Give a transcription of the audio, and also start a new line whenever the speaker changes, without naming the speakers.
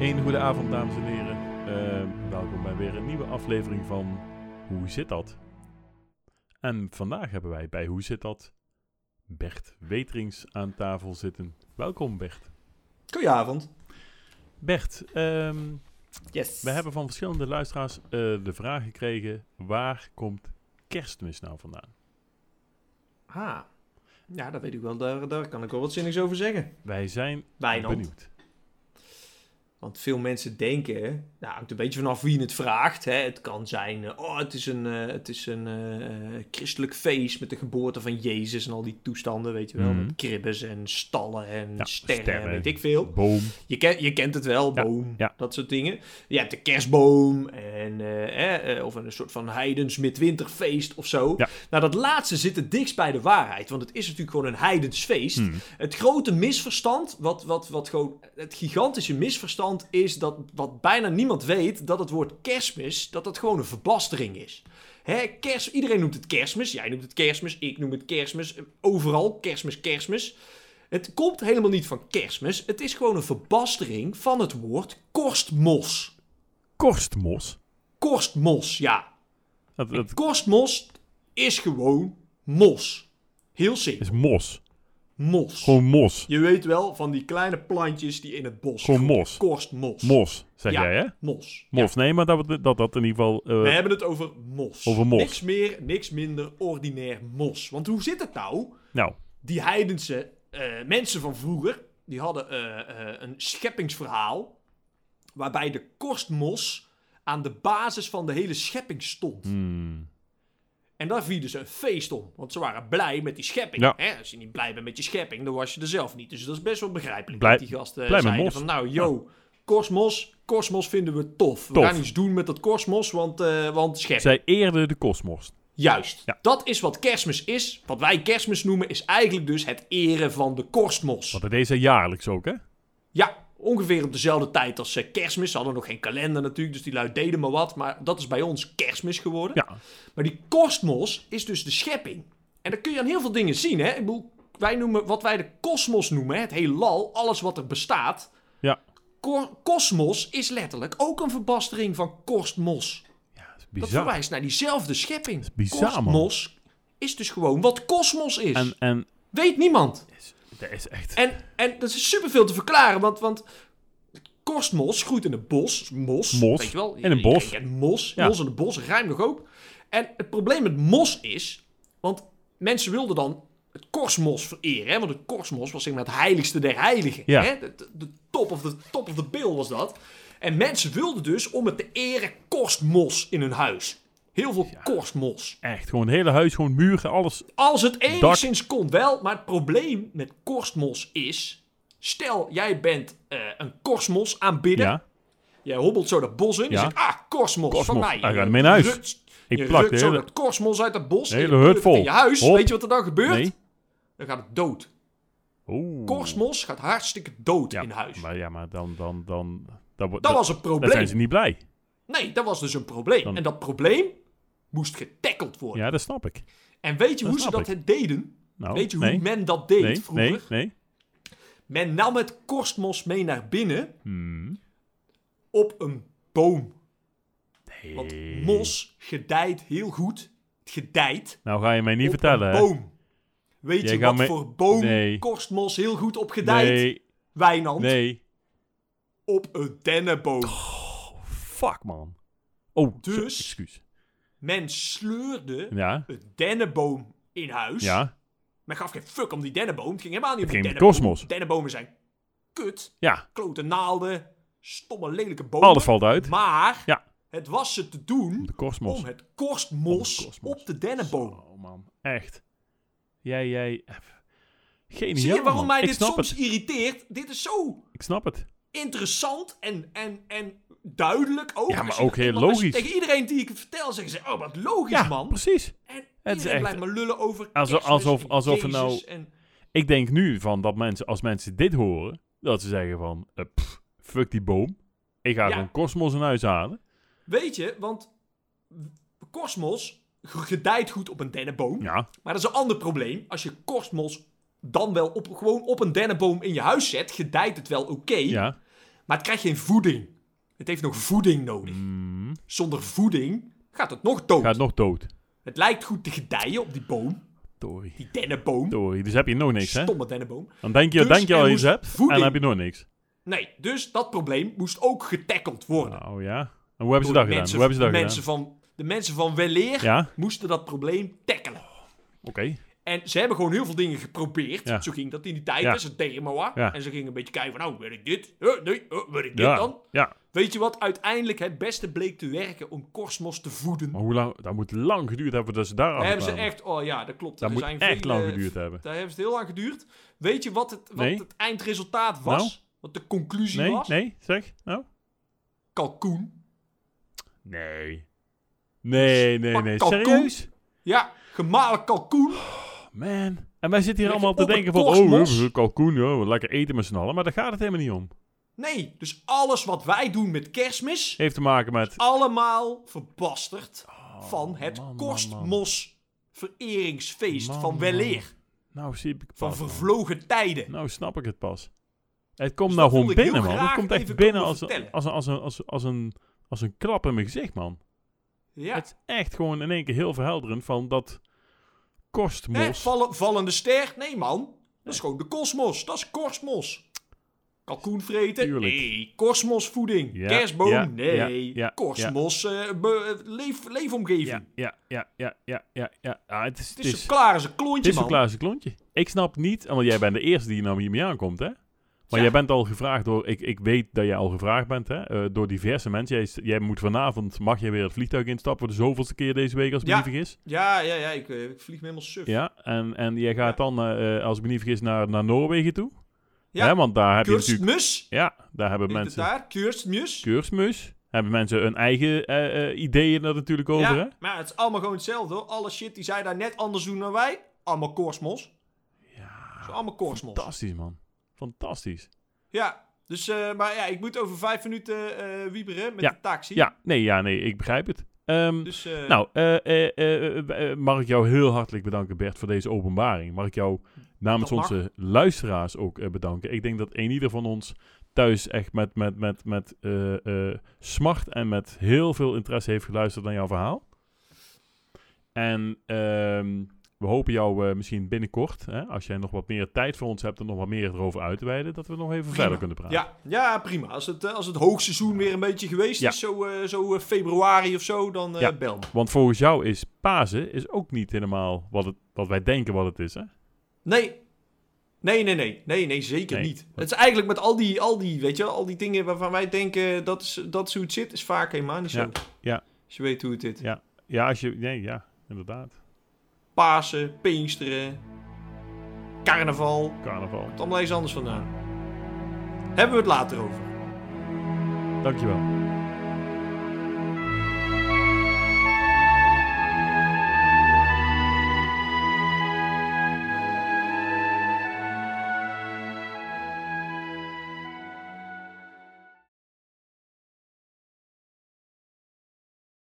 Een goede avond, dames en heren. Eh, welkom bij weer een nieuwe aflevering van Hoe zit dat? En vandaag hebben wij bij Hoe zit dat Bert Weterings aan tafel zitten. Welkom, Bert.
Goedenavond.
Bert, ehm,
Yes.
we hebben van verschillende luisteraars eh, de vraag gekregen: waar komt kerstmis nou vandaan?
Ah. Ja, dat weet ik wel. Daar, daar kan ik wel wat zinnigs over zeggen.
Wij zijn
Wijnand.
benieuwd.
Want veel mensen denken, nou, hangt een beetje vanaf wie je het vraagt. Hè. Het kan zijn, eh, oh, het is een, eh, het is een eh, eh, christelijk feest met de geboorte van Jezus en al die toestanden, weet je wel.
Mhm.
Met kribbes en stallen en
Ja,
sterren,
sterren.
weet ik veel.
Boom.
Je, ken- je kent het wel,
Ja,
boom,
ja.
dat soort dingen. Je hebt de kerstboom en, eh, eh, eh, of een soort van heidens midwinterfeest of zo.
Ja.
Nou, dat laatste zit het dichtst bij de waarheid, want het is natuurlijk gewoon een heidens feest.
Hmm.
Het grote misverstand, wat, wat, wat gewoon, het gigantische misverstand is dat wat bijna niemand weet, dat het woord kerstmis, dat dat gewoon een verbastering is. Hè, kerst, iedereen noemt het kerstmis, jij noemt het kerstmis, ik noem het kerstmis, eh, overal kerstmis, kerstmis. Het komt helemaal niet van kerstmis, het is gewoon een verbastering van het woord korstmos.
Korstmos.
Korstmos, ja.
Dat, dat
Korstmos is gewoon mos. Heel simpel,
is mos.
mos.
Gewoon mos.
Je weet wel, van die kleine plantjes die in het bos
Gewoon
groeien.
mos.
Korstmos.
Mos, zeg
Ja.
jij hè?
Mos.
Mos, nee, maar dat we- dat, dat in ieder geval... eh,
We hebben het over mos.
Over mos.
Niks meer, niks minder, ordinair mos. Want hoe zit het nou?
Nou,
Die heidense eh, mensen van vroeger, die hadden eh, eh, een scheppingsverhaal... waarbij de korstmos aan de basis van de hele schepping stond.
hmm,
En daar vierden ze een feest om. Want ze waren blij met die schepping.
Ja.
Hè? Als je niet blij bent met je schepping, dan was je er zelf niet. Dus dat is best wel begrijpelijk.
Blij-
dat die gasten
blij met
zeiden
mos.
van, nou yo, kosmos, kosmos vinden we tof. We
Tof.
gaan iets doen met dat kosmos, want, eh, want schepping.
zij eerden de kosmos.
Juist.
Ja.
Dat is wat kerstmis is. Wat wij kerstmis noemen, is eigenlijk dus het eren van de kosmos.
Want dat deed zij jaarlijks ook, hè?
Ja, ongeveer op dezelfde tijd als eh, kerstmis. Ze hadden nog geen kalender natuurlijk, dus die lui deden maar wat. Maar dat is bij ons kerstmis geworden.
Ja.
Maar die kosmos is dus de schepping. En dat kun je aan heel veel dingen zien, hè? Ik bedoel, wij noemen wat wij de kosmos noemen, hè, het heelal, alles wat er bestaat.
Ja.
Ko- Kosmos is letterlijk ook een verbastering van kosmos.
ja dat is
Dat
bizar.
verwijst naar diezelfde schepping.
bizar, man.
kosmos is dus gewoon wat kosmos is.
En, en
Weet niemand.
dat is echt...
En, en dat is superveel te verklaren, want, want korstmos groeit in het bos. Mos,
Mos,
weet je wel.
in een
Iedereen
bos.
kent mos,
Ja.
mos in het bos, ruim nog ook. En het probleem met mos is, want mensen wilden dan het korstmos vereren. Hè? Want het korstmos was zeg maar het heiligste der heiligen.
Ja.
Hè? De, de- de top of de top of the bill was dat. En mensen wilden dus om het te eren korstmos in hun huis. Heel veel korstmos.
Echt, gewoon het hele huis, gewoon muren, alles.
Als het enigszins kon wel, maar het probleem met korstmos is... Stel, jij bent eh, een korstmos aanbidder.
Ja,
Jij hobbelt zo dat bos in
Ja.
en zegt... Ah, korstmos, van
Korstmos.
mij.
Hij
Je
gaat mee naar huis.
rukt-
Ik
je
plak
rukt
de
zo
hele-
dat korstmos uit dat bos. en je
hele hut
pleukt het
vol.
in je huis.
Hop.
Weet je wat er dan gebeurt?
nee.
Dan gaat het dood.
Oeh.
Korstmos gaat hartstikke dood
ja,
in huis.
Maar, ja, maar dan... dan, dan dat, wordt-
Dat
dat-
was een
dan zijn
probleem.
ze niet blij.
Nee, dat was dus een probleem.
Dan-
En dat probleem moest getackeld worden.
Ja, dat snap ik.
En weet je
Dat
hoe ze
snap
dat deden?
Nou,
Weet je hoe
nee,
men dat deed
nee,
vroeger?
Nee, nee.
Men nam het korstmos mee naar binnen
Hmm.
op een boom.
Nee.
Want mos gedijt heel goed. Het gedijt
Nou ga je mij niet
op
vertellen,
een
hè?
boom. Weet
Jij
je
gaat
wat
me-
voor boom
Nee.
korstmos heel goed op gedijt?
Nee,
Wijnand,
nee.
op een dennenboom.
Fuck, man. Oh, dus...
Dus-
excuus.
Men sleurde
Ja,
een dennenboom in huis.
ja,
Men gaf geen fuck om die dennenboom. Het ging helemaal niet om
Het
die
ging om de
dennenboom.
korstmos.
Dennenbomen zijn kut.
ja.
Klote naalden. Stomme lelijke bomen.
Alles valt uit.
Maar
Ja.
het was ze te doen
De kosmos.
om het korstmos,
Om het korstmos.
op de dennenboom.
Oh man, echt. Jij, jij... Geniaal,
Zie je waarom
man.
mij
ik
dit
snap
soms
Het.
irriteert? Dit is zo
Ik snap het.
interessant en, en, en duidelijk ook.
Ja, maar
Als je
ook
dat-
heel
want als je
logisch.
Tegen iedereen die ik het vertel zeggen ze, oh wat logisch
Ja,
man.
precies.
En
echt-
iedereen blijft maar lullen over
Alsof-
kerstmis
alsof-
en
alsof er nou-
Jezus en-
Ik denk nu van dat mensen, als mensen dit horen, dat ze zeggen van, eh, pff, fuck die boom. Ik ga
Ja.
gewoon kosmos in huis halen.
Weet je, want kosmos gedijt goed op een dennenboom.
Ja,
Maar dat is een ander probleem. Als je kosmos dan wel op, gewoon op een dennenboom in je huis zet, gedijt het wel oké.
ja.
Maar het krijgt geen voeding. Het heeft nog voeding nodig.
Mm,
Zonder voeding gaat het nog dood.
gaat nog dood.
Het lijkt goed te gedijen op die boom.
Tori.
Die dennenboom.
Tori. Dus heb je nog niks, hè?
Stomme dennenboom.
Dan denk je,
Dus
denk je
er
al iets
moest
hebt en dan
voeding-
heb je nog niks.
Nee, dus dat probleem moest ook getackeld worden.
Oh ja. En hoe hebben ze
Door
dat
de
gedaan?
mensen-
Hoe hebben ze dat
de
gedaan?
mensen Van, de mensen van Weleer
Ja,
moesten dat probleem tackelen.
oké.
En ze hebben gewoon heel veel dingen geprobeerd.
Ja.
Zo ging dat in die tijd,
Ja.
dat is een DMOA.
Ja.
En ze gingen een beetje kijken van, nou, wil ik dit? Eh, nee, eh, wil ik dit
Ja.
dan?
ja.
Weet je wat uiteindelijk het beste bleek te werken om Cosmos te voeden?
Maar hoe lang? Dat moet lang geduurd hebben voordat ze daar
Daar hebben ze
afkwamen.
echt, oh ja, dat klopt.
Dat
er
moet
zijn
echt
vele-
lang geduurd hebben.
Daar hebben ze het heel lang geduurd. Weet je wat het, wat
Nee.
het eindresultaat was?
Nou?
Wat de conclusie
Nee,
was?
nee, zeg. Nou.
Kalkoen.
Nee. Nee, nee,
Pak
nee.
kalkoen.
Serieus?
Ja, gemalen kalkoen.
Man. En wij zitten hier
Lekker
allemaal te
op het
denken van... Oh, we
kosmos.
hebben kalkoen, ja, we lekker eten met z'n allen. Maar daar gaat het helemaal niet om.
Nee, dus alles wat wij doen met kerstmis...
Heeft te maken met...
allemaal verbasterd van het
Oh, man, man,
Kostmos vereringsfeest
Man,
van weleer.
Nou, zie ik het
Van
pas, man.
vervlogen tijden.
Nou, snap ik het pas. Het komt
Dus
nou
dat
gewoon
wilde ik heel
binnen, man. Het
graag
komt
even
echt
komen
binnen als, een-
vertellen.
als, een- als, een, als, als, een, als een klap in mijn gezicht, man.
Ja.
Het is echt gewoon in één keer heel verhelderend van dat
Hè,
kostmos.
vallen, vallende ster? Nee, man. Dat is gewoon de kosmos. Dat is kosmos. Kalkoen vreten?
Tuurlijk.
Nee. Kosmosvoeding?
Ja,
Kerstboom?
ja,
nee.
ja, ja,
Kosmos eh, be- eh, leef, leefomgeving.
Ja, ja, ja, ja, ja, ja. ja. Ah, het is,
Het is zo klaar als een klontje,
Het is
man.
een Klaasje klontje. Ik snap niet, want jij bent de eerste die nou hiermee aankomt, hè? Maar
Ja.
jij bent al gevraagd door, ik, ik weet dat jij al gevraagd bent, hè? eh, door diverse mensen. Jij, is- jij moet vanavond, mag jij weer het vliegtuig instappen voor de zoveelste keer deze week, als het
Ja.
me niet vergis.
Ja, ja, ja. Ik, eh, ik vlieg me helemaal suf.
Ja, en, en jij gaat
Ja.
dan, eh, eh, als ik me niet vergis, naar, naar Noorwegen toe.
Ja.
Hè, want daar heb je natuurlijk...
Kurstmus?
Ja, daar hebben
Heet het
mensen...
daar? Kurstmus?
Keursmus. Hebben mensen hun eigen eh, eh, ideeën daar natuurlijk over, hè?
Ja, maar het is allemaal gewoon hetzelfde hoor. Alle shit die zij daar net anders doen dan wij, allemaal kosmos. Ja. Is allemaal kosmos.
Fantastisch, man. Fantastisch.
Ja, dus, eh, maar ja, ik moet over vijf minuten eh wieberen met
Ja.
de taxi.
Ja, nee, ja, nee, ik begrijp het. Ehm,
Dus, eh,
nou, eh, eh, eh, eh, eh, mag ik jou heel hartelijk bedanken, Bert, voor deze openbaring. Mag ik jou namens
Dat mag.
onze luisteraars ook eh, bedanken. Ik denk dat een ieder van ons thuis echt met, met, met, met eh, eh, smart en met heel veel interesse heeft geluisterd naar jouw verhaal. En ehm, we hopen jou eh, misschien binnenkort, hè, als jij nog wat meer tijd voor ons hebt en nog wat meer erover uit te wijden, dat we nog even verder kunnen praten.
ja, ja, prima. Als het, eh, als het hoogseizoen weer een beetje geweest
Ja.
is, zo, eh, zo eh, februari of zo, dan eh,
Ja.
bel me.
Want volgens jou is Pasen is ook niet helemaal wat, het, wat wij denken wat het is, hè?
Nee. Nee, nee, nee. Nee, nee, zeker
Nee.
niet. Het is eigenlijk met al die, al die, weet je wel, al die dingen waarvan wij denken dat is, dat is hoe het zit, is vaak helemaal niet zo.
Ja, ja.
Als je weet hoe het zit.
Ja, ja, als je, nee, ja inderdaad.
Pasen, Pinksteren, Carnaval.
Carnaval.
Het allemaal eens anders vandaan. Hebben we het later over.
Dankjewel.